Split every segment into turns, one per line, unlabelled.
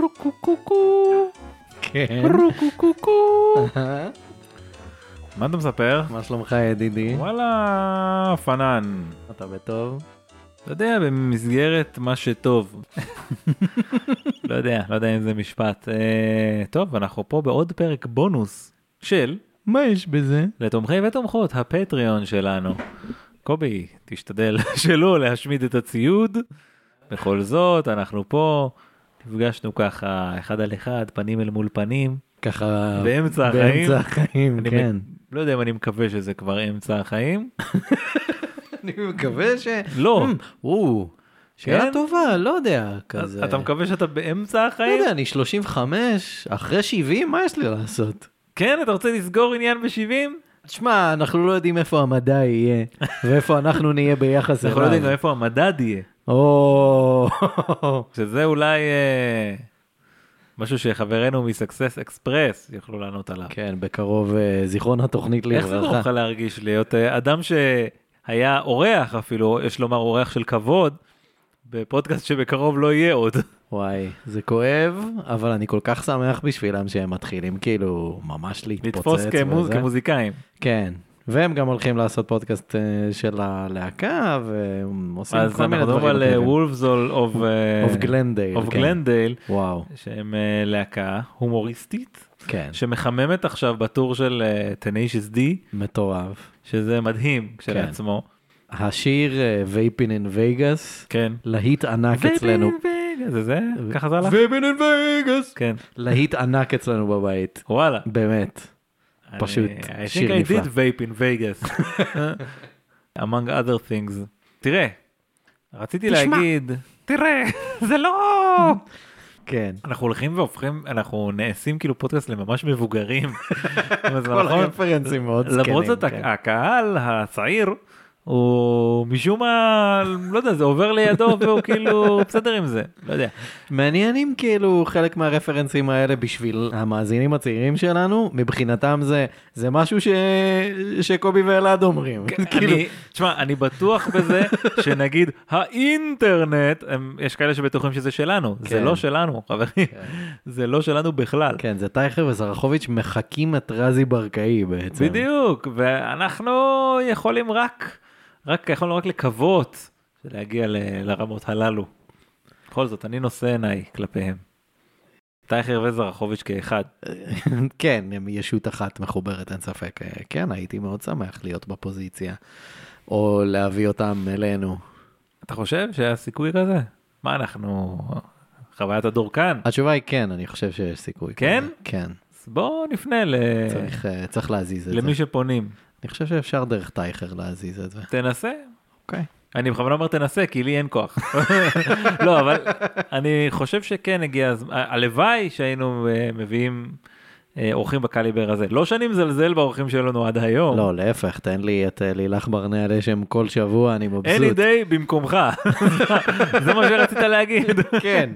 רוקוקוקו,
כן.
רוקוקוקו.
אהה.
מה אתה מספר?
מה שלומך ידידי?
וואלה, פנן.
אתה בטוב?
אתה יודע, במסגרת מה שטוב. לא יודע, לא יודע אם זה משפט. אה, טוב, אנחנו פה בעוד פרק בונוס של
מה יש בזה?
לתומכי ותומכות הפטריון שלנו. קובי, תשתדל שלא להשמיד את הציוד. בכל זאת, אנחנו פה, נפגשנו ככה אחד על אחד, פנים אל מול פנים.
ככה...
באמצע החיים.
באמצע החיים,
אני
כן.
לא יודע אם אני מקווה שזה כבר אמצע החיים.
אני מקווה ש...
לא.
Hmm, או, שאלה
כן?
טובה, לא יודע, כזה.
אתה מקווה שאתה באמצע
לא
החיים?
יודע, אני 35, אחרי 70, מה יש לי לעשות?
כן, אתה רוצה לסגור עניין ב-70?
תשמע, אנחנו לא יודעים איפה המדע יהיה, ואיפה אנחנו נהיה ביחס אליו.
אנחנו לא יודעים גם איפה המדד יהיה.
או,
שזה אולי אה, משהו שחברינו מסקסס אקספרס יוכלו לענות עליו.
כן, בקרוב אה, זיכרון התוכנית
איך זה גורם לך
לברכה.
להרגיש להיות אה, אדם שהיה אורח אפילו, יש לומר אורח של כבוד, בפודקאסט שבקרוב לא יהיה עוד.
וואי, זה כואב, אבל אני כל כך שמח בשבילם שהם מתחילים כאילו ממש להתפוצץ.
לתפוס כמוז-
וזה.
כמוזיקאים.
כן, והם גם הולכים לעשות פודקאסט אה, של הלהקה, והם עושים
אז
כל מיני
אנחנו מדברים
דברים.
על אה,
אחרים.
וולפזול אוף
Of Glendale, כן.
גלנדייל,
וואו,
אה, שהם אה, להקה הומוריסטית,
כן,
שמחממת עכשיו בטור של טניישס די,
מטורף.
שזה מדהים כשלעצמו.
השיר אה, וייפין אין וייגאס,
כן.
להיט ענק אצלנו.
זה זה? ככה זה הלך?
וייפין אין וייגאס!
כן.
להיט ענק אצלנו בבית,
וואלה.
באמת. פשוט,
אני,
שיר
I think
נפלא.
I did vape in Vegas. among other things. תראה, רציתי
תשמע.
להגיד, תראה, זה לא...
כן.
אנחנו הולכים והופכים, אנחנו נעשים כאילו פודקאסט לממש מבוגרים. אבל זה
כל
נכון.
הרפרנסים מאוד זקנים.
למרות זאת
כן.
הקהל הצעיר הוא משום מה, לא יודע, זה עובר לידו והוא כאילו בסדר עם זה, לא יודע.
מעניין אם כאילו חלק מהרפרנסים האלה בשביל המאזינים הצעירים שלנו, מבחינתם זה, זה משהו ש... שקובי ואלעד אומרים.
כן.
כאילו,
אני, תשמע, אני בטוח בזה שנגיד האינטרנט, הם, יש כאלה שבטוחים שזה שלנו, זה
כן.
לא שלנו, חברים, זה לא שלנו בכלל.
כן, זה טייכר וזרחוביץ' מחקים את רזי ברקאי בעצם.
בדיוק, ואנחנו יכולים רק, רק, יכולנו רק לקוות להגיע ל- לרמות הללו. בכל זאת, אני נושא עיניי כלפיהם. טייכר וזרחוביץ' כאחד.
כן, הם ישות אחת מחוברת, אין ספק. אה, כן, הייתי מאוד שמח להיות בפוזיציה, או להביא אותם אלינו.
אתה חושב שהיה סיכוי כזה? מה אנחנו, חוויית הדורקן?
התשובה היא כן, אני חושב שיש סיכוי.
כן?
כזה. כן,
אז בואו נפנה ל-
צריך, אה, צריך להזיז את זה.
למי שפונים.
אני חושב שאפשר דרך טייכר להזיז את זה.
תנסה,
אוקיי.
אני בכוונה אומר תנסה כי לי אין כוח. לא אבל אני חושב שכן הגיע הזמן הלוואי שהיינו אה, מביאים אה, אורחים בקליבר הזה לא שאני מזלזל באורחים שהיו לנו עד היום.
לא, להפך, תן לי את אה, לילך ברנע לשם כל שבוע, אני מבסוט.
אין לי די במקומך זה מה שרצית להגיד
כן.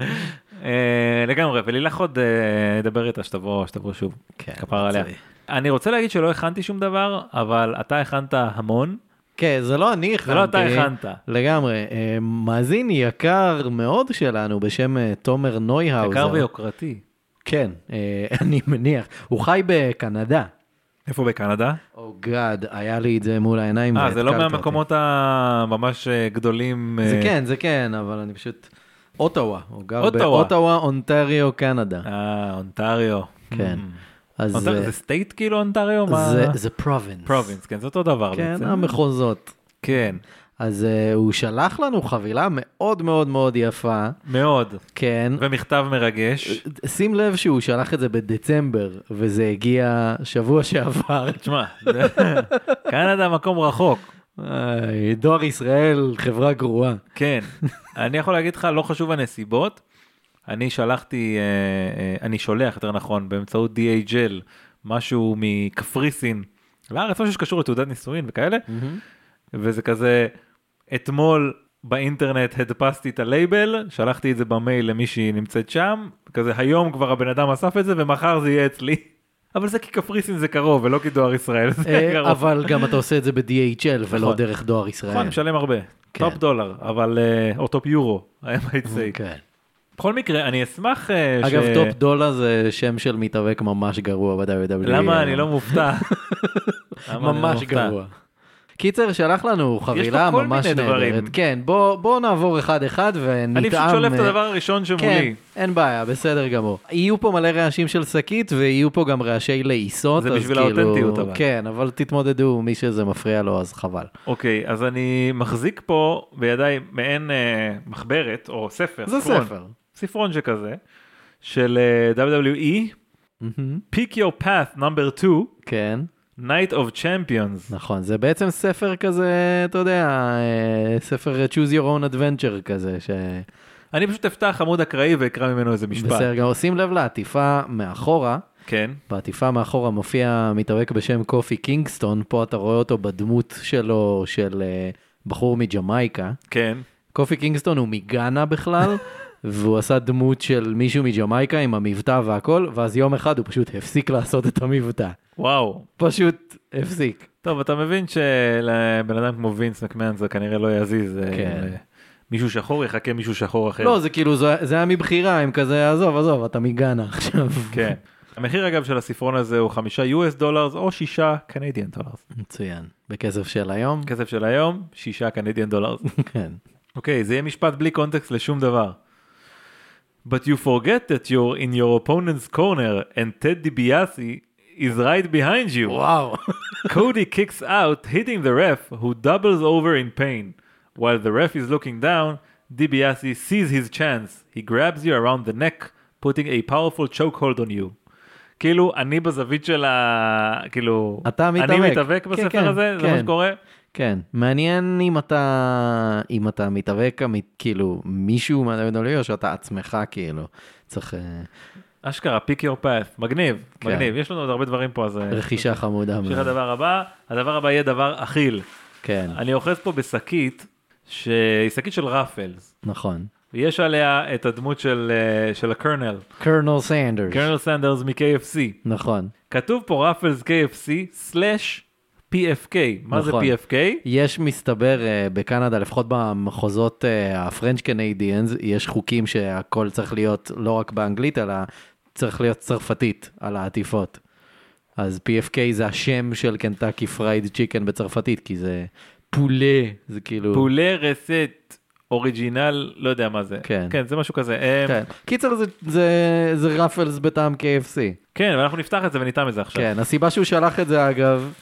אה, לגמרי ולילך עוד אה, אדבר איתה שתבוא שתבוא שוב
כן,
כפרה עליה.
מצוי.
אני רוצה להגיד שלא הכנתי שום דבר אבל אתה הכנת המון
כן, זה לא אני הכנתי.
זה לא אתה הכנת.
לגמרי. אה, מאזין יקר מאוד שלנו בשם אה, תומר נויהאוזר.
יקר ויוקרתי.
כן, אה, אני מניח. הוא חי בקנדה.
איפה בקנדה?
או גאד, היה לי את זה מול העיניים.
אה, זה לא
והתקלת אותי.
מהמקומות הממש אה, גדולים.
זה
אה,
כן, זה כן, אבל אני פשוט... אוטווה, הוא גר
אוטווה.
באוטווה, אונטריו, קנדה.
אה, אונטריו.
כן. אז
אז זה
אה,
סטייט כאילו אונטריו? מה?
זה- זה פרובינס.
פרובינס, כן, זה אותו דבר
כן,
בעצם.
המחוזות.
כן,
אז אה, הוא שלח לנו חבילה מאוד מאוד מאוד יפה,
מאוד.
כן.
ומכתב מרגש.
שים לב שהוא שלח את זה בדצמבר, וזה הגיע שבוע שעבר.
תשמע, זה- קנדה מקום רחוק.
איי, דואר ישראל, חברה גרועה.
כן. אני יכול להגיד לך, לא חשוב הנסיבות. אני שלחתי, אה, אה, אני שולח, יותר נכון, באמצעות DHL, משהו מקפריסין לארץ, משהו שקשור לתעודת נישואין וכאלה. וזה כזה, אתמול באינטרנט הדפסתי את הלייבל, שלחתי את זה במייל למישהי נמצאת שם, כזה היום כבר הבן אדם אסף את זה ומחר זה יהיה אצלי. אבל זה כי קפריסין זה קרוב ולא כי דואר ישראל זה
אה,
קרוב.
אבל גם אתה עושה את זה ב-DHL ולא
נכון.
דרך דואר ישראל.
נכון, משלם הרבה,
כן. אוקיי.
טופ דולר, אבל, אה, או טופ יורו, I might say.
כן.
בכל מקרה, אני אשמח אה,
אגב, טופ דולה זה שם של מתאבק ממש גרוע ב-WWE.
למה אני לא מופתע? למה אני לא
אה. ממש
מופתע?
גרוע. קיצר, שלח לנו חבילה
כל
ממש
מיני דברים.
נהדרת. כן, בוא בוא נעבור אחד-אחד ונטעם.
אני פשוט שולף את
אה,
הדבר הראשון
כן,
שמולי.
אין בעיה, בסדר גמור. יהיו פה מלא רעשים של שקית ויהיו פה גם רעשי לעיסות.
זה
אז
בשביל
כאילו-
האותנטיות, אבל.
כן, אבל תתמודדו, מי שזה מפריע לו אז חבל.
אוקיי, אז אני מחזיק פה בידיי מעין אה, מחברת או ספר.
זה
ספרון.
ספר.
ספרון שכזה, של אה, WWE,
מהמם.
Pick Your Path number 2,
כן,
Night of Champions.
נכון, זה בעצם ספר כזה, אתה יודע, אה, ספר Choose Your Own Adventure כזה, ש...
אני פשוט אפתח עמוד אקראי ואקרא ממנו איזה משפט.
בסדר גמור, שים לב לעטיפה מאחורה.
כן.
בעטיפה מאחורה מופיע מתאבק בשם קופי קינגסטון, פה אתה רואה אותו בדמות שלו, של אה, בחור מג'מייקה.
כן.
קופי קינגסטון הוא מגאנה בכלל, והוא עשה דמות של מישהו מג'מייקה עם המבטא והכל, ואז יום אחד הוא פשוט הפסיק לעשות את המבטא.
וואו.
פשוט הפסיק.
טוב, אתה מבין שלבן אדם כמו וינס מקמן זה כנראה לא יזיז. אה,
כן.
אה, מישהו שחור יחכה מישהו שחור אחר.
לא, זה כאילו, זה זה היה מבחירה, הם כזה, עזוב, עזוב, אתה מגאנה עכשיו.
כן. המחיר אגב של הספרון הזה הוא חמישה US דולרס או שישה קנדיאן דולרס.
מצוין. בכסף של היום?
כסף של היום, שישה קנדיאן דולרס.
כן.
אוקיי, זה יהיה משפט בלי קונטקסט לשום דבר. But you forget that you're in your opponent's corner and Ted DiBiase is right behind you.
וואו.
Cody kicks out, hitting the ref, who doubles over in pain. While the ref is looking down, DiBiase sees his chance. He grabs you around the neck, putting a powerful chokehold on you. כאילו, אני בזווית של ה... כאילו...
אתה
אני
מתאבק.
מתאבק
כן,
בספר
כן,
הזה? זה מה
כן.
שקורה?
כן, מעניין אם אתה, אם אתה מתאבק אמית- כאילו מישהו מהדולי או שאתה עצמך כאילו. צריך אה,
אשכרה, pick your path. מגניב,
כן.
מגניב. יש לנו עוד הרבה דברים פה, אז... אה,
רכישה חמודה.
נמשיך
מאוד.
לדבר הבא, הדבר הבא יהיה דבר אכיל.
כן,
אני אוחז פה בשקית, שהיא שקית של רפלס,
נכון.
ויש עליה את הדמות של, אה, של הקרנל,
קרנל סנדרס.
קרנל סנדרס מ-KFC.
נכון.
כתוב פה רפלס KFC סלאש PFK, מה זה
נכון.
PFK?
יש מסתבר אה, בקנדה, לפחות במחוזות הפרנץ' קנדיאנס, יש חוקים שהכל צריך להיות לא רק באנגלית, אלא צריך להיות צרפתית על העטיפות. אז PFK זה השם של קנטקי פרייד צ'יקן בצרפתית, כי זה פולה, זה כאילו...
פולה רסט אוריג'ינל, לא יודע מה זה.
כן.
כן, זה משהו כזה. אה,
כן. קיצר זה, זה, זה רפלס בטעם KFC.
כן, ואנחנו נפתח את זה ונטעם את זה עכשיו.
כן, הסיבה שהוא שלח את זה אגב,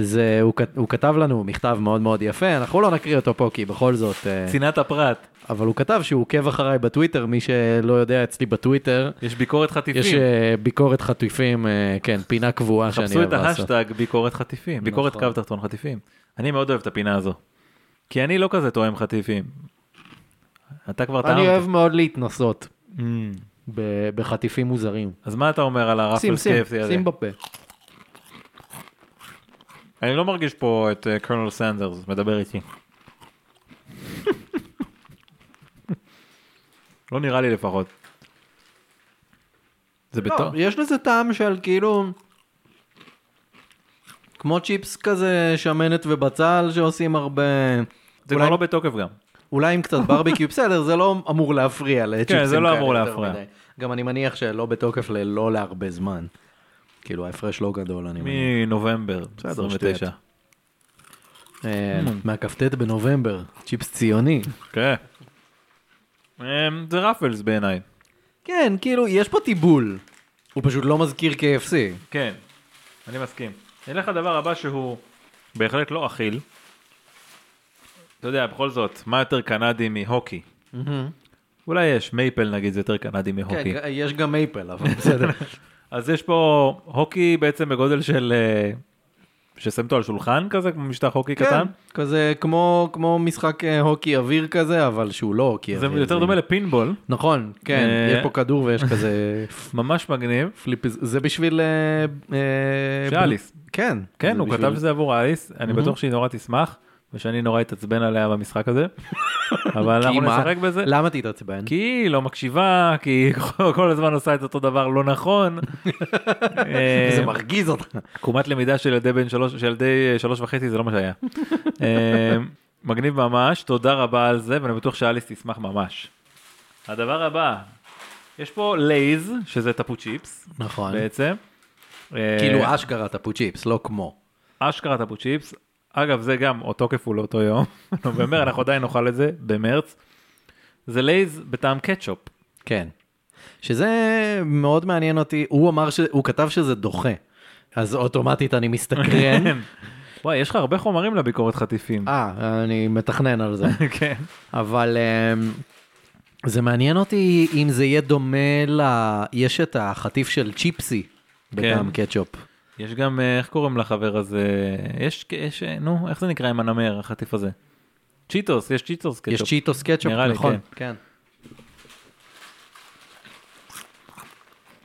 זה הוא, כת- הוא כתב לנו מכתב מאוד מאוד יפה, אנחנו לא נקריא אותו פה כי בכל זאת, אה,
צנעת הפרט,
אבל הוא כתב שהוא עוקב אחריי בטוויטר, מי שלא יודע אצלי בטוויטר,
יש ביקורת
יש
חטיפים.
אה, ביקורת חטיפים, אה, כן, פינה קבועה שאני
חפשו
אוהב
את
לעשות.
ההשטג ביקורת חטיפים, ביקורת
נכון.
קו תחתון חטיפים. אני מאוד אוהב את הפינה הזו. כי אני לא כזה תואם חטיפים. אתה כבר טעמת.
אני אוהב מאוד להתנסות
Mm.
ב- בחטיפים מוזרים.
אז מה אתה אומר על
שים,
הרפלס
שים,
KFC הזה?
שים בפה.
אני לא מרגיש פה את אה, קרנל סנדרס מדבר איתי. לא נראה לי לפחות. זה
לא,
בטוב.
יש לזה טעם של כאילו... כמו צ'יפס כזה, שמנת ובצל שעושים הרבה...
זה
אולי-
כבר לא בתוקף גם.
אולי עם קצת ברביקיו, בסדר, זה לא אמור להפריע לצ'יפסים כאלה.
זה לא אמור
יותר
להפריע.
מדי. גם אני מניח שלא בתוקף ללא להרבה זמן. כאילו ההפרש לא גדול, אני מניח.
מנובמבר
בסדר,
29.
שטויות. אה, מהכ"ט בנובמבר, צ'יפס ציוני.
כן. אמ, זה רפלס בעיניי.
כן, כאילו, יש פה טיבול. הוא פשוט לא מזכיר KFC.
כן, אני מסכים. נלך לדבר הבא שהוא בהחלט לא אכיל. אתה יודע, בכל זאת, מה יותר קנדי מהוקי? אולי יש, מייפל נגיד זה יותר קנדי מהוקי.
כן, יש גם מייפל, אבל בסדר.
אז יש פה הוקי בעצם בגודל של... אה, ששם אותו על שולחן כזה, כמו משטח הוקי קטן.
כן, כזה כמו, כמו משחק אה, הוקי אוויר כזה, אבל שהוא לא הוקי
זה
אוויר.
יותר דומה לפינבול,
נכון, כן,
אה,
יש פה כדור ויש כזה
ממש מגניב.
פליפ, זה בשביל... אה, אה,
של אליס.
כן.
כן,
זה
הוא
בשביל-
כתב שזה עבור אליס, אני בטוח שהיא נורא תשמח, ושאני נורא אתעצבן עליה במשחק הזה. אבל
כי
אנחנו
מה?
נשחק בזה.
למה תתעצבן?
כי היא לא מקשיבה, כי היא כל הזמן עושה את אותו דבר לא נכון. אה,
זה מרגיז אותך.
עקומת למידה של ילדי בן שלוש, של ילדי אה, שלוש וחצי זה לא מה שהיה. אה, מגניב ממש, תודה רבה על זה, ואני בטוח שאליס תשמח ממש. הדבר הבא, יש פה לייז, שזה טפו צ'יפס,
נכון.
בעצם. אה,
כאילו אשכרה טפו צ'יפס, לא כמו.
אשכרה טפו צ'יפס. אגב, זה גם, התוקף הוא לאותו יום. נובמבר, אנחנו עדיין נאכל את זה במרץ. זה לייז בטעם קטשופ.
כן. שזה מאוד מעניין אותי, הוא אמר, ש... הוא כתב שזה דוחה. אז אוטומטית אני מסתקרן.
וואי, יש לך הרבה חומרים לביקורת חטיפים.
אה, אני מתכנן על זה.
כן.
אבל אמ, זה מעניין אותי אם זה יהיה דומה ל... יש את החטיף של צ'יפסי
כן.
בטעם קטשופ.
יש גם, אה, איך קוראים לחבר הזה? יש, יש, אה, נו, איך זה נקרא עם הנמר, החטיף הזה? צ'יטוס, יש צ'יטוס
יש
קטשופ.
צ'יטוס קטשופ,
נראה לי,
נכון.
כן.
כן.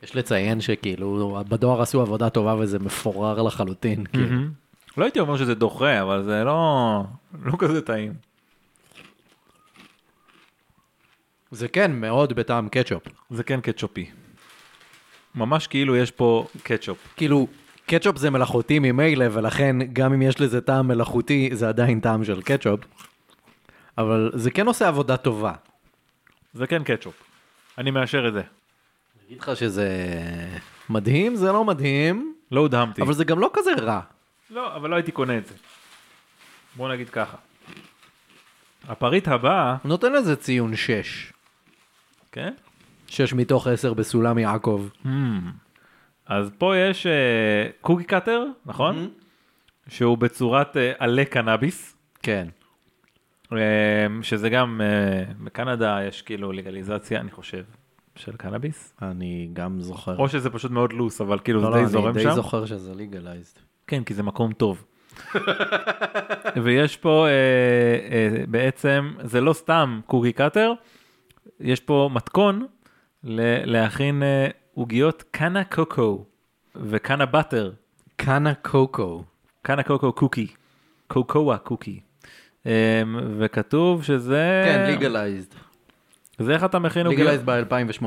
יש לציין שכאילו בדואר עשו עבודה טובה וזה מפורר לחלוטין. כאילו.
מהמם. לא הייתי אומר שזה דוחה, אבל זה לא, לא כזה טעים.
זה כן מאוד בטעם קטשופ.
זה כן קטשופי. ממש כאילו יש פה קטשופ.
כאילו, קטשופ זה מלאכותי ממילא, ולכן גם אם יש לזה טעם מלאכותי, זה עדיין טעם של קטשופ. אבל זה כן עושה עבודה טובה.
זה כן קטשופ. אני מאשר את זה.
אגיד לך שזה מדהים, זה לא מדהים,
לא הודהמתי.
אבל זה גם לא כזה רע.
לא, אבל לא הייתי קונה את זה. בוא נגיד ככה. הפריט הבא,
נותן לזה ציון 6.
כן?
6 מתוך 10 בסולם יעקב.
Hmm. אז פה יש אה, קוקי קאטר, נכון?
Mm-hmm.
שהוא בצורת אה, עלה קנאביס,
כן.
אה, שזה גם אה, בקנדה יש כאילו לגליזציה, אני חושב, של קנאביס.
אני גם זוכר.
או שזה פשוט מאוד לוס, אבל כאילו
לא,
זה
לא,
די
אני
זורם
די
שם.
זוכר שזה legalized.
כן, כי זה מקום טוב. ויש פה אה, אה, בעצם, זה לא סתם קוקי קאטר, יש פה מתכון ל- להכין אה, עוגיות קאנה קוקו וקאנה באטר,
קאנה קוקו.
קאנה קוקו קוקי, קוקואה קוקי. אה, וכתוב שזה...
כן, legalized.
זה איך אתה מכין עוגיות,
legalized ב-2018.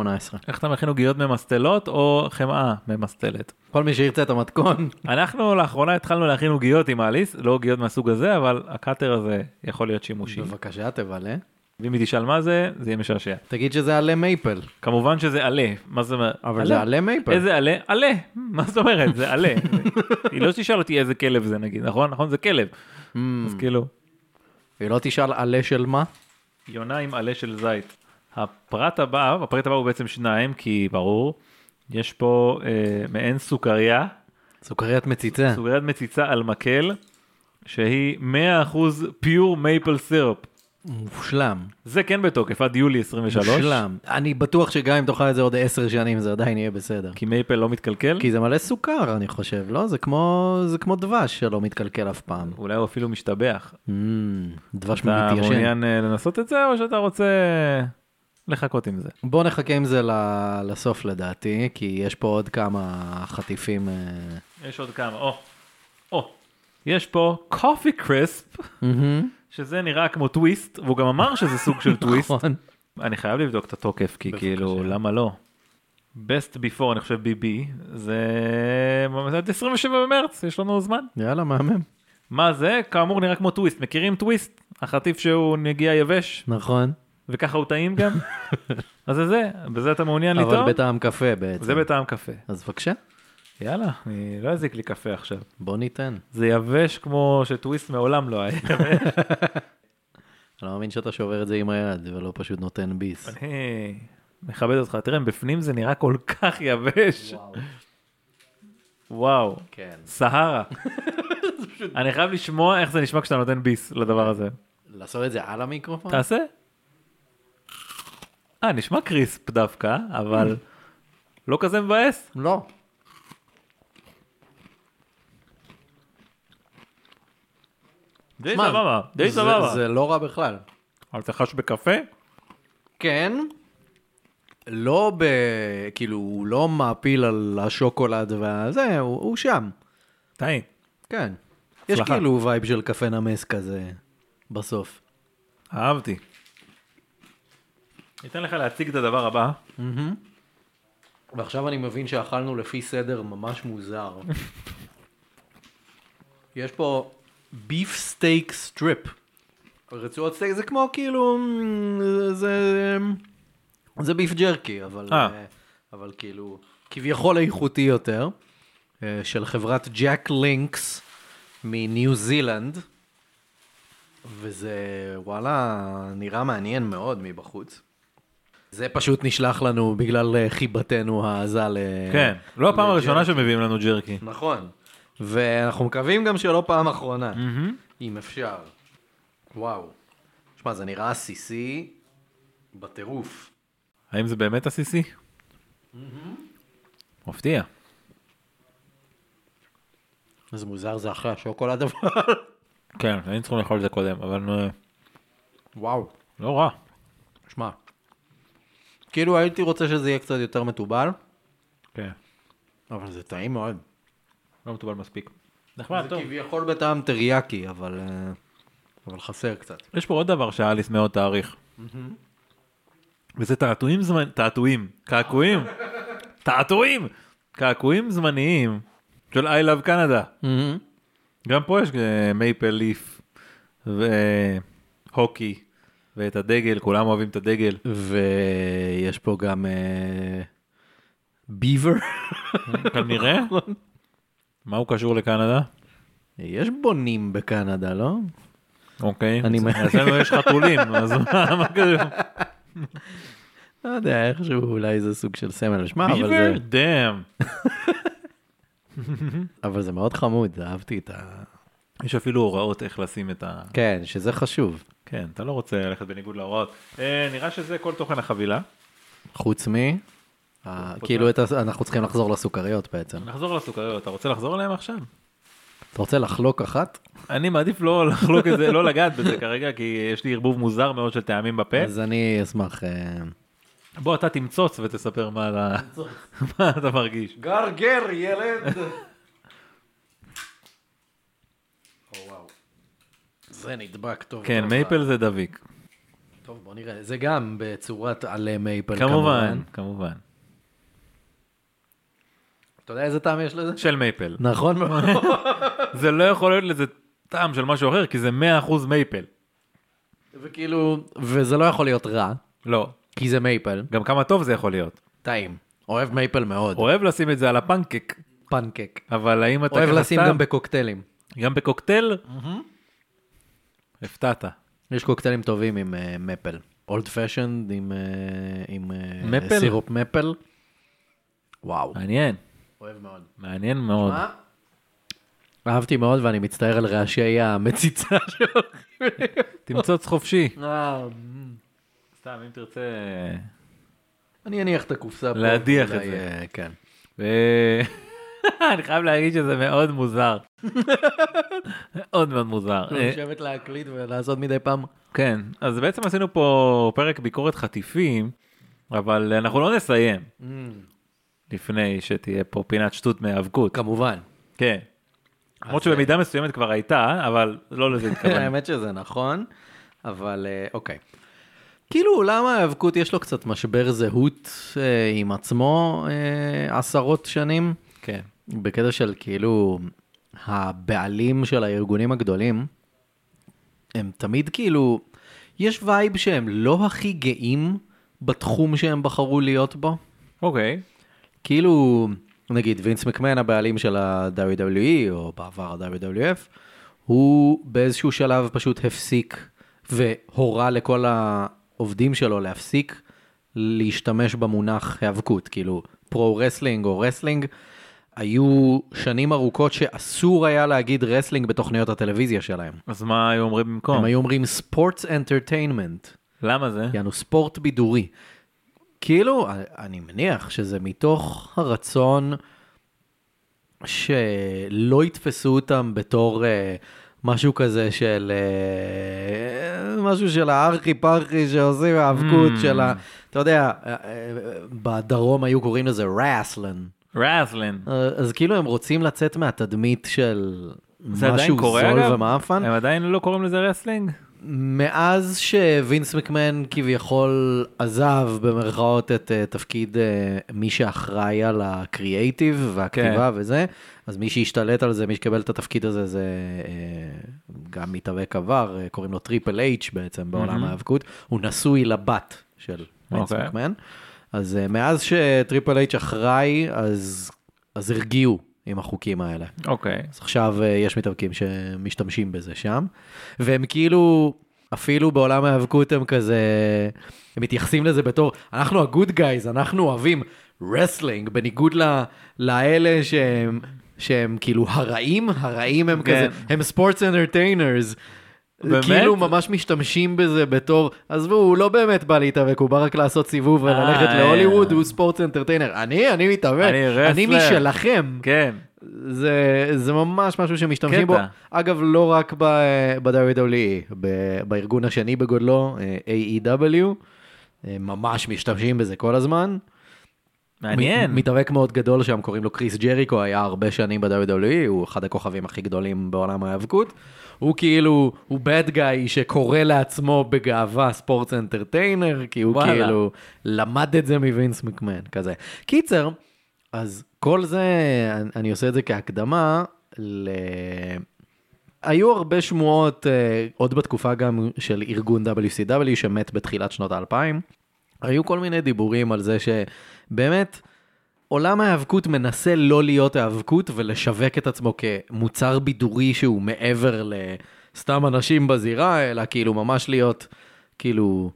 איך אתה מכין עוגיות ממסטלות או חמאה ממסטלת.
כל מי שירצה את המתכון.
אנחנו לאחרונה התחלנו להכין עוגיות עם האליס, לא עוגיות מהסוג הזה, אבל הקאטר הזה יכול להיות שימושי.
בבקשה, תבלה.
ואם היא תשאל מה זה, זה יהיה משעשע.
תגיד שזה עלה מייפל.
כמובן שזה עלה, מה זה אומר?
אבל זה עלה מייפל.
איזה עלה? עלה, מה זאת אומרת? זה עלה. היא לא תשאל אותי איזה כלב זה נגיד, נכון? נכון, זה כלב.
Mm.
אז כאילו,
היא לא תשאל עלה של מה?
יונה עם עלה של זית. הפרט הבא, הפרט הבא הוא בעצם שניים, כי ברור, יש פה אה, מעין סוכריה,
סוכריית מציצה.
סוכריית מציצה על מקל, שהיא 100% פיור מייפל סירופ.
מושלם.
זה כן בתוקף, עד יולי 23.
מושלם. אני בטוח שגם אם תאכל את זה עוד עשר שנים זה עדיין יהיה בסדר.
כי מייפל לא מתקלקל.
כי זה מלא סוכר אני חושב, לא? זה כמו, זה כמו דבש שלא מתקלקל אף פעם.
אולי הוא אפילו משתבח.
Mm, דבש
אתה
מתיישן.
מעוניין אה, לנסות את זה, או שאתה רוצה אה, לחכות עם זה?
בוא נחכה עם זה ל- לסוף לדעתי, כי יש פה עוד כמה חטיפים. אה,
יש עוד כמה, או. או. יש פה קופי קריספ, Mm-hmm.
מהמם.
שזה נראה כמו טוויסט, והוא גם אמר שזה סוג של טוויסט.
נכון.
אני חייב לבדוק את התוקף, כי
בבקשה.
כאילו, למה לא? best before, אני חושב BB, זה עד 27 במרץ, יש לנו זמן.
יאללה, מהמם.
מה זה? כאמור נראה כמו טוויסט, מכירים טוויסט? החטיף שהוא נגיע יבש,
נכון.
וככה הוא טעים גם? אז זה זה, בזה אתה מעוניין לטעום?
אבל בטעם קפה בעצם.
זה בטעם קפה.
אז בבקשה,
יאללה, אני לא יזיק לי קפה עכשיו.
בוא ניתן.
זה יבש כמו שטוויסט מעולם לא היה. יבש.
אני לא מאמין שאתה שובר את זה עם היד ולא פשוט נותן ביס.
אני מכבד אותך. תראה, בפנים זה נראה כל כך יבש. וואו.
כן.
סהרה. אני חייב לשמוע איך זה נשמע כשאתה נותן ביס לדבר הזה.
לעשות את זה על המיקרופון?
תעשה. אה, נשמע קריספ דווקא, אבל לא כזה מבאס.
לא.
די
מה,
סבבה, די
זה-
סבבה.
זה לא רע בכלל.
אבל אתה חש בקפה?
כן. לא ב... כאילו, הוא לא מעפיל על השוקולד והזה, הוא, הוא שם.
טעים.
כן. יש
הצלחה.
כאילו וייב של קפה נמס כזה בסוף.
אהבתי. ניתן לך להציג את הדבר הבא.
ועכשיו אני מבין שאכלנו לפי סדר ממש מוזר. יש פה ביף סטייק סטריפ. רצועות סטייק אמ, זה כמו כאילו, זה זה ביף ג'רקי, אבל,
אה.
אה, אבל כאילו, כביכול איכותי יותר, אה, של חברת ג'ק לינקס מניו זילנד, וזה וואלה, נראה מעניין מאוד מבחוץ. זה פשוט נשלח לנו בגלל אה, חיבתנו העזה ל...
כן, לא הפעם
לג'רקי.
הראשונה שמביאים לנו ג'רקי.
נכון. ואנחנו מקווים גם שלא פעם אחרונה, אם אפשר. וואו. שמע, זה נראה עסיסי בטירוף.
האם זה באמת עסיסי? מפתיע.
זה מוזר, זה אחרי השוקולד אבל.
כן, היינו צריכים לאכול את זה קודם, אבל אה,
וואו.
לא רע.
שמע, כאילו הייתי רוצה שזה יהיה קצת יותר מתובל,
כן,
אבל זה טעים מאוד.
לא מטובל מספיק. נחמד,
זה
טוב.
כביכול בטעם טריאקי, אבל... אה, אבל חסר קצת.
יש פה עוד דבר שאליס מאוד תעריך. וזה תעתועים זמניים, תעתועים, קעקועים, תעתועים, קעקועים זמניים של I Love Canada. גם פה יש אה, מייפל ליף והוקי ואת הדגל, כולם אוהבים את הדגל.
ויש פה גם אה, ביבר.
כנראה. מה הוא קשור לקנדה?
יש בונים בקנדה, לא?
אוקיי.
אני מ-
אצלנו יש חתולים, אז מה מה קשור?
לא יודע, איכשהו אולי זה סוג של סמל ושמה, אבל
ביבר?
זה,
דאם.
אבל זה מאוד חמוד, אהבתי את ה...
יש אפילו הוראות איך לשים את ה...
כן, שזה חשוב.
כן, אתה לא רוצה ללכת בניגוד להוראות. אה, נראה שזה כל תוכן החבילה.
חוץ מ... ה- כאילו, את ה- אנחנו צריכים לחזור לסוכריות בעצם.
נחזור לסוכריות, אתה רוצה לחזור אליהם עכשיו?
אתה רוצה לחלוק אחת?
אני מעדיף לא לחלוק את זה, לא לגעת בזה כרגע, כי יש לי ערבוב מוזר מאוד של טעמים בפה.
אז אני אשמח... אה,
בוא, אתה תמצוץ ותספר מה אתה- מה אתה מרגיש.
גרגר, ילד! Oh, זה נדבק טוב.
כן,
טוב.
מייפל זה דביק.
טוב, בוא נראה. זה גם בצורת עלה מייפל,
כמובן, כמובן.
אתה יודע איזה טעם יש לזה?
של מייפל.
נכון מאוד.
זה לא יכול להיות לזה טעם של משהו אחר, כי זה 100% מייפל.
וכאילו, וזה לא יכול להיות רע,
לא.
כי זה מייפל.
גם כמה טוב זה יכול להיות.
טעים. אוהב מייפל מאוד.
אוהב לשים את זה על הפנקק,
פנקק.
אבל האם אתה
אוהב
ככה
לשים
סתם-
גם בקוקטיילים.
גם בקוקטייל? הפתעת.
יש קוקטיילים טובים עם אה, מפל. אולד פשנד עם אה, עם, אה,
מפל?
סירופ מפל. וואו.
מעניין,
אוהב מאוד.
מעניין מאוד.
מה? אהבתי מאוד ואני מצטער על רעשי המציצה שלו.
תמצוץ חופשי.
אה,
סתם, אם תרצה...
אני אניח את הקופסה פה.
להדיח
ואולי,
את זה.
אה, כן.
ו- אה, אני חייב להגיד שזה מאוד מוזר. מאוד מאוד מוזר.
לא
אה,
לשבת להקליט ולעשות מדי פעם.
כן, אז בעצם עשינו פה פרק ביקורת חטיפים, אבל אנחנו לא נסיים
"אמ".
לפני שתהיה פה פינת שטות מהיאבקות.
כמובן.
כן. למרות שבמידה מסוימת כבר הייתה, אבל לא לזה התכוון.
האמת שזה נכון, אבל אה, אוקיי. כאילו עולם ההיאבקות יש לו קצת משבר זהות אה, עם עצמו אה, עשרות שנים,
כן.
בקטע של כאילו הבעלים של הארגונים הגדולים, הם תמיד כאילו, יש וייב שהם לא הכי גאים בתחום שהם בחרו להיות בו.
אוקיי.
כאילו, נגיד וינס מקמן הבעלים של ה-WWE, או בעבר ה-WWF, הוא באיזשהו שלב פשוט הפסיק והורה לכל העובדים שלו להפסיק להשתמש במונח היאבקות, כאילו פרו-רסלינג או רסלינג. היו שנים ארוכות שאסור היה להגיד רסלינג בתוכניות הטלוויזיה שלהם.
אז מה היו אומרים במקום?
הם כן. היו אומרים ספורטס אנטרטיינמנט.
למה זה?
יענו ספורט בידורי. כאילו, אני מניח שזה מתוך הרצון שלא יתפסו אותם בתור אה, משהו כזה של... אה, משהו של הארכי פרחי שעושים האבקות
Mm.
של ה... אתה יודע, אה, אה, בדרום היו קוראים לזה ראסלן.
רסלין.
אז כאילו הם רוצים לצאת מהתדמית של
זה עדיין
משהו
קורה אגב?
זול ומאפן.
הם עדיין לא קוראים לזה רסלינג?
מאז שווינס מקמן כביכול עזב במרכאות את אה, תפקיד אה, מי שאחראי על הקריאייטיב
כן.
והכתיבה וזה, אז מי שהשתלט על זה, מי שקיבל את התפקיד הזה זה אה, גם מתאבק עבר, אה, קוראים לו טריפל אייץ' בעצם בעולם
מהמם.
ההיאבקות, הוא נשוי לבת של מיינס
אוקיי.
מקמן. אז אה, מאז שטריפל אייץ' אחראי, אז, אז הרגיעו עם החוקים האלה.
אוקיי.
אז עכשיו אה, יש מתאבקים שמשתמשים בזה שם, והם כאילו, אפילו בעולם ההיאבקות הם כזה, הם מתייחסים לזה בתור, אנחנו הגוד גייז, אנחנו אוהבים רסלינג, בניגוד ל, לאלה שהם, שהם כאילו הרעים, הרעים הם
כן.
כזה, הם ספורטס אנטרטיינרס.
באמת?
כאילו ממש משתמשים בזה בתור, עזבו, הוא לא באמת בא להתאבק, הוא בא רק לעשות סיבוב וללכת
אה,
להוליווד,
אה.
הוא ספורטס אנטרטיינר. אני, אני מתאבק,
אני
אני
רסלר.
משלכם.
כן.
זה, זה ממש משהו שמשתמשים
קטע.
בו. אגב, לא רק ב-WWE, E, בארגון השני בגודלו, אה, AEW, אה, ממש משתמשים בזה כל הזמן.
מעניין.
מ- מתאבק מאוד גדול שם, קוראים לו קריס ג'ריקו, היה הרבה שנים ב-WWE, הוא אחד הכוכבים הכי גדולים בעולם ההיאבקות. הוא כאילו, הוא bad guy שקורא לעצמו בגאווה ספורטס אנטרטיינר, כי הוא
וואלה.
כאילו למד את זה מווינס מקמן, כזה. קיצר, אז כל זה, אני- אני עושה את זה כהקדמה ל... היו הרבה שמועות, אה, עוד בתקופה גם של ארגון WCW שמת בתחילת שנות האלפיים. היו כל מיני דיבורים על זה שבאמת עולם ההיאבקות מנסה לא להיות היאבקות ולשווק את עצמו כמוצר בידורי שהוא מעבר לסתם אנשים בזירה, אלא כאילו ממש להיות כאילו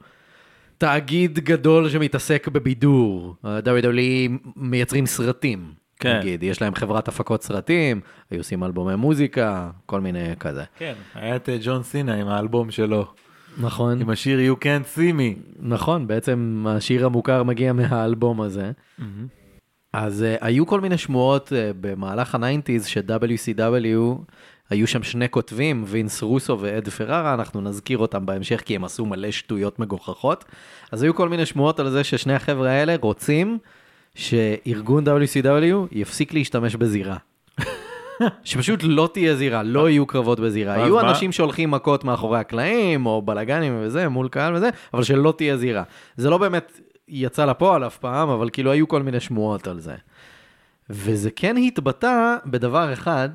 תאגיד גדול שמתעסק בבידור. ה-WWE מייצרים סרטים.
כן.
נגיד, יש להם חברת הפקות סרטים, היו עושים אלבומי מוזיקה, כל מיני כזה.
כן. היה את אה, ג'ון סינה עם האלבום שלו.
נכון.
עם השיר You Can't See Me.
נכון, בעצם השיר המוכר מגיע מהאלבום הזה. אז uh, היו כל מיני שמועות uh, במהלך הניינטיז ש-WCW, היו שם שני כותבים, וינס רוסו ואד פררה, אנחנו נזכיר אותם בהמשך כי הם עשו מלא שטויות מגוחכות. אז היו כל מיני שמועות על זה ששני החבר'ה האלה רוצים שארגון WCW יפסיק להשתמש בזירה. שפשוט לא תהיה זירה, לא יהיו קרבות בזירה.
ואז
יהיו
מה?
אנשים שהולכים מכות מאחורי הקלעים, או בלאגנים וזה, מול קהל וזה, אבל שלא תהיה זירה. זה לא באמת יצא לפועל אף פעם, אבל כאילו היו כל מיני שמועות על זה. וזה כן התבטא בדבר אחד,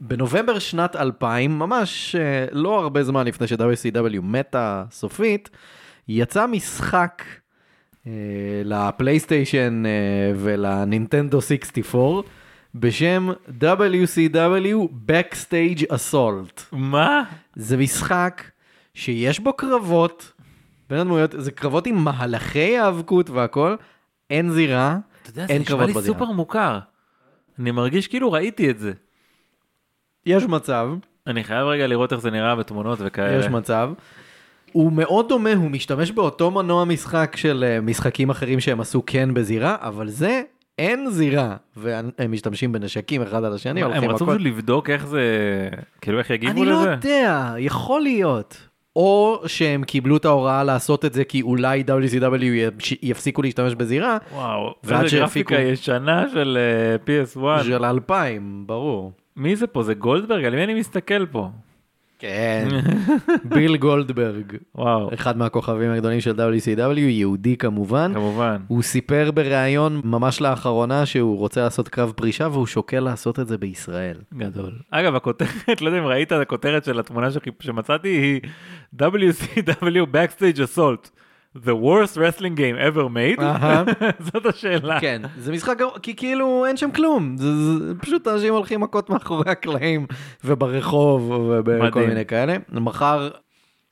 בנובמבר שנת 2000, ממש אה, לא הרבה זמן לפני ש-WCW מתה סופית, יצא משחק אה, לפלייסטיישן אה, ולנינטנדו 64 בשם WCW Backstage Assault.
מה?
זה משחק שיש בו קרבות בין הדמויות, זה קרבות עם מהלכי האבקות והכל, אין זירה,
אתה יודע, זה
אין
נשמע
קרבות
לי
בדירה.
סופר מוכר. אני מרגיש כאילו ראיתי את זה.
יש מצב,
אני חייב רגע לראות איך זה נראה בתמונות וכאלה.
יש מצב. הוא מאוד דומה, הוא משתמש באותו מנוע משחק של אה, משחקים אחרים שהם עשו כן בזירה, אבל זה אין זירה, והם משתמשים בנשקים אחד על השני,
הם
הולכים
רצו
מכות.
פשוט לבדוק איך זה, כאילו איך יגיבו
אני
לזה?
לא יודע, יכול להיות. או שהם קיבלו את ההוראה לעשות את זה כי אולי WCW יפש- יפסיקו להשתמש בזירה,
וואו,
ועד
איזה
שהפיקו-
גרפיקה ישנה של אה, PS1.
של 2000, ברור.
מי זה פה? זה גולדברג? על מי אני מסתכל פה?
כן. ביל גולדברג,
וואו,
אחד מהכוכבים הגדולים של WCW, יהודי כמובן.
כמובן.
הוא סיפר בריאיון ממש לאחרונה שהוא רוצה לעשות קרב פרישה והוא שוקל לעשות את זה בישראל.
גדול. אגב, הכותרת, לא יודע אם ראית את הכותרת של התמונה שחיפ- שמצאתי, היא WCW Backstage Assault. The worst wrestling game ever made?
אהה.
זאת השאלה.
כן, זה משחק גרוע, כי כאילו אין שם כלום, זה, זה פשוט אנשים הולכים מכות מאחורי הקלעים וברחוב ובכל
מדהים.
מיני כאלה. מחר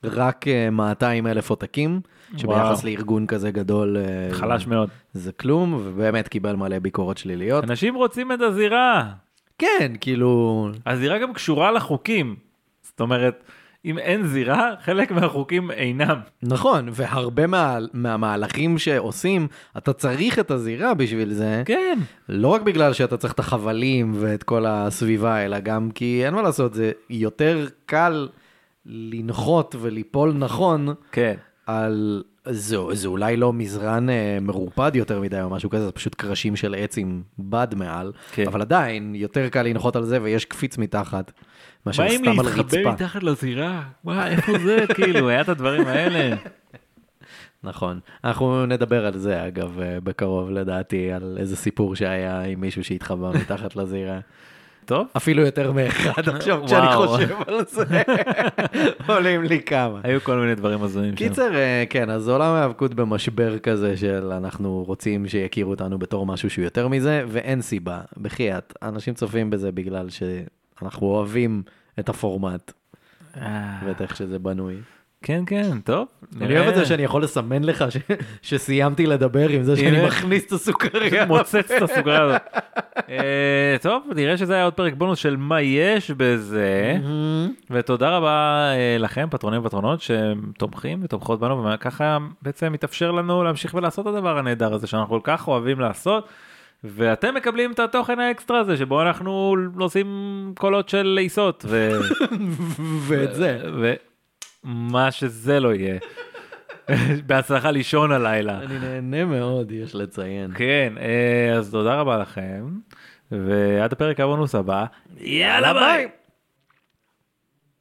רק אה, 200 אלף עותקים, שביחס
וואו.
לארגון כזה גדול אה,
חלש מאוד.
זה כלום, ובאמת קיבל מלא ביקורות שליליות.
אנשים רוצים את הזירה.
כן, כאילו,
הזירה גם קשורה לחוקים. זאת אומרת, אם אין זירה, חלק מהחוקים אינם.
נכון, והרבה מה, מהמהלכים שעושים, אתה צריך את הזירה בשביל זה.
כן.
לא רק בגלל שאתה צריך את החבלים ואת כל הסביבה, אלא גם כי אין מה לעשות, זה יותר קל לנחות וליפול נכון
כן.
על... זה, זה אולי לא מזרן אה, מרופד יותר מדי או משהו כזה, זה פשוט קרשים של עץ עם בד מעל,
כן.
אבל עדיין יותר קל לנחות על זה ויש קפיץ מתחת, מאשר
באים
סתם על
להתחבא
רצפה.
מתחת לזירה. וואי, איפה זה? כאילו, היה את הדברים האלה.
נכון. אנחנו נדבר על זה, אגב, אה, בקרוב, לדעתי, על איזה סיפור שהיה עם מישהו שהתחבא מתחת לזירה.
טוב.
אפילו יותר מאחד עכשיו כשאני
וואו.
חושב על זה, כן. עולים לי כמה.
היו כל מיני דברים הזויים. שם.
קיצר, אה, כן, אז עולם ההיאבקות במשבר כזה של אנחנו רוצים שיכירו אותנו בתור משהו שהוא יותר מזה, ואין סיבה, בחייאת. אנשים צופים בזה בגלל שאנחנו אוהבים את הפורמט
אה,
ואת איך שזה בנוי.
כן, כן, טוב.
אני
נראה.
אוהב את זה שאני יכול לסמן לך ש- שסיימתי לדבר עם זה שאני
הנה.
מכניס את הסוכריה.
מוצץ את הסוגרה הזאת. אה, טוב, נראה שזה היה עוד פרק בונוס של מה יש בזה.
מהמם.
ותודה רבה אה, לכם, פטרונים ופטרונות, שתומכים ותומכות בנו, וככה בעצם מתאפשר לנו להמשיך ולעשות את הדבר הנהדר הזה שאנחנו כל כך אוהבים לעשות. ואתם מקבלים את התוכן האקסטרה הזה, שבו אנחנו עושים קולות של לעיסות, ו...
ואת זה.
ו... מה שזה לא יהיה. בהצלחה לישון הלילה.
אני נהנה מאוד, יש לציין.
כן, אה, אז תודה רבה לכם, ועד הפרק הבונוס הבא, יאללה ביי!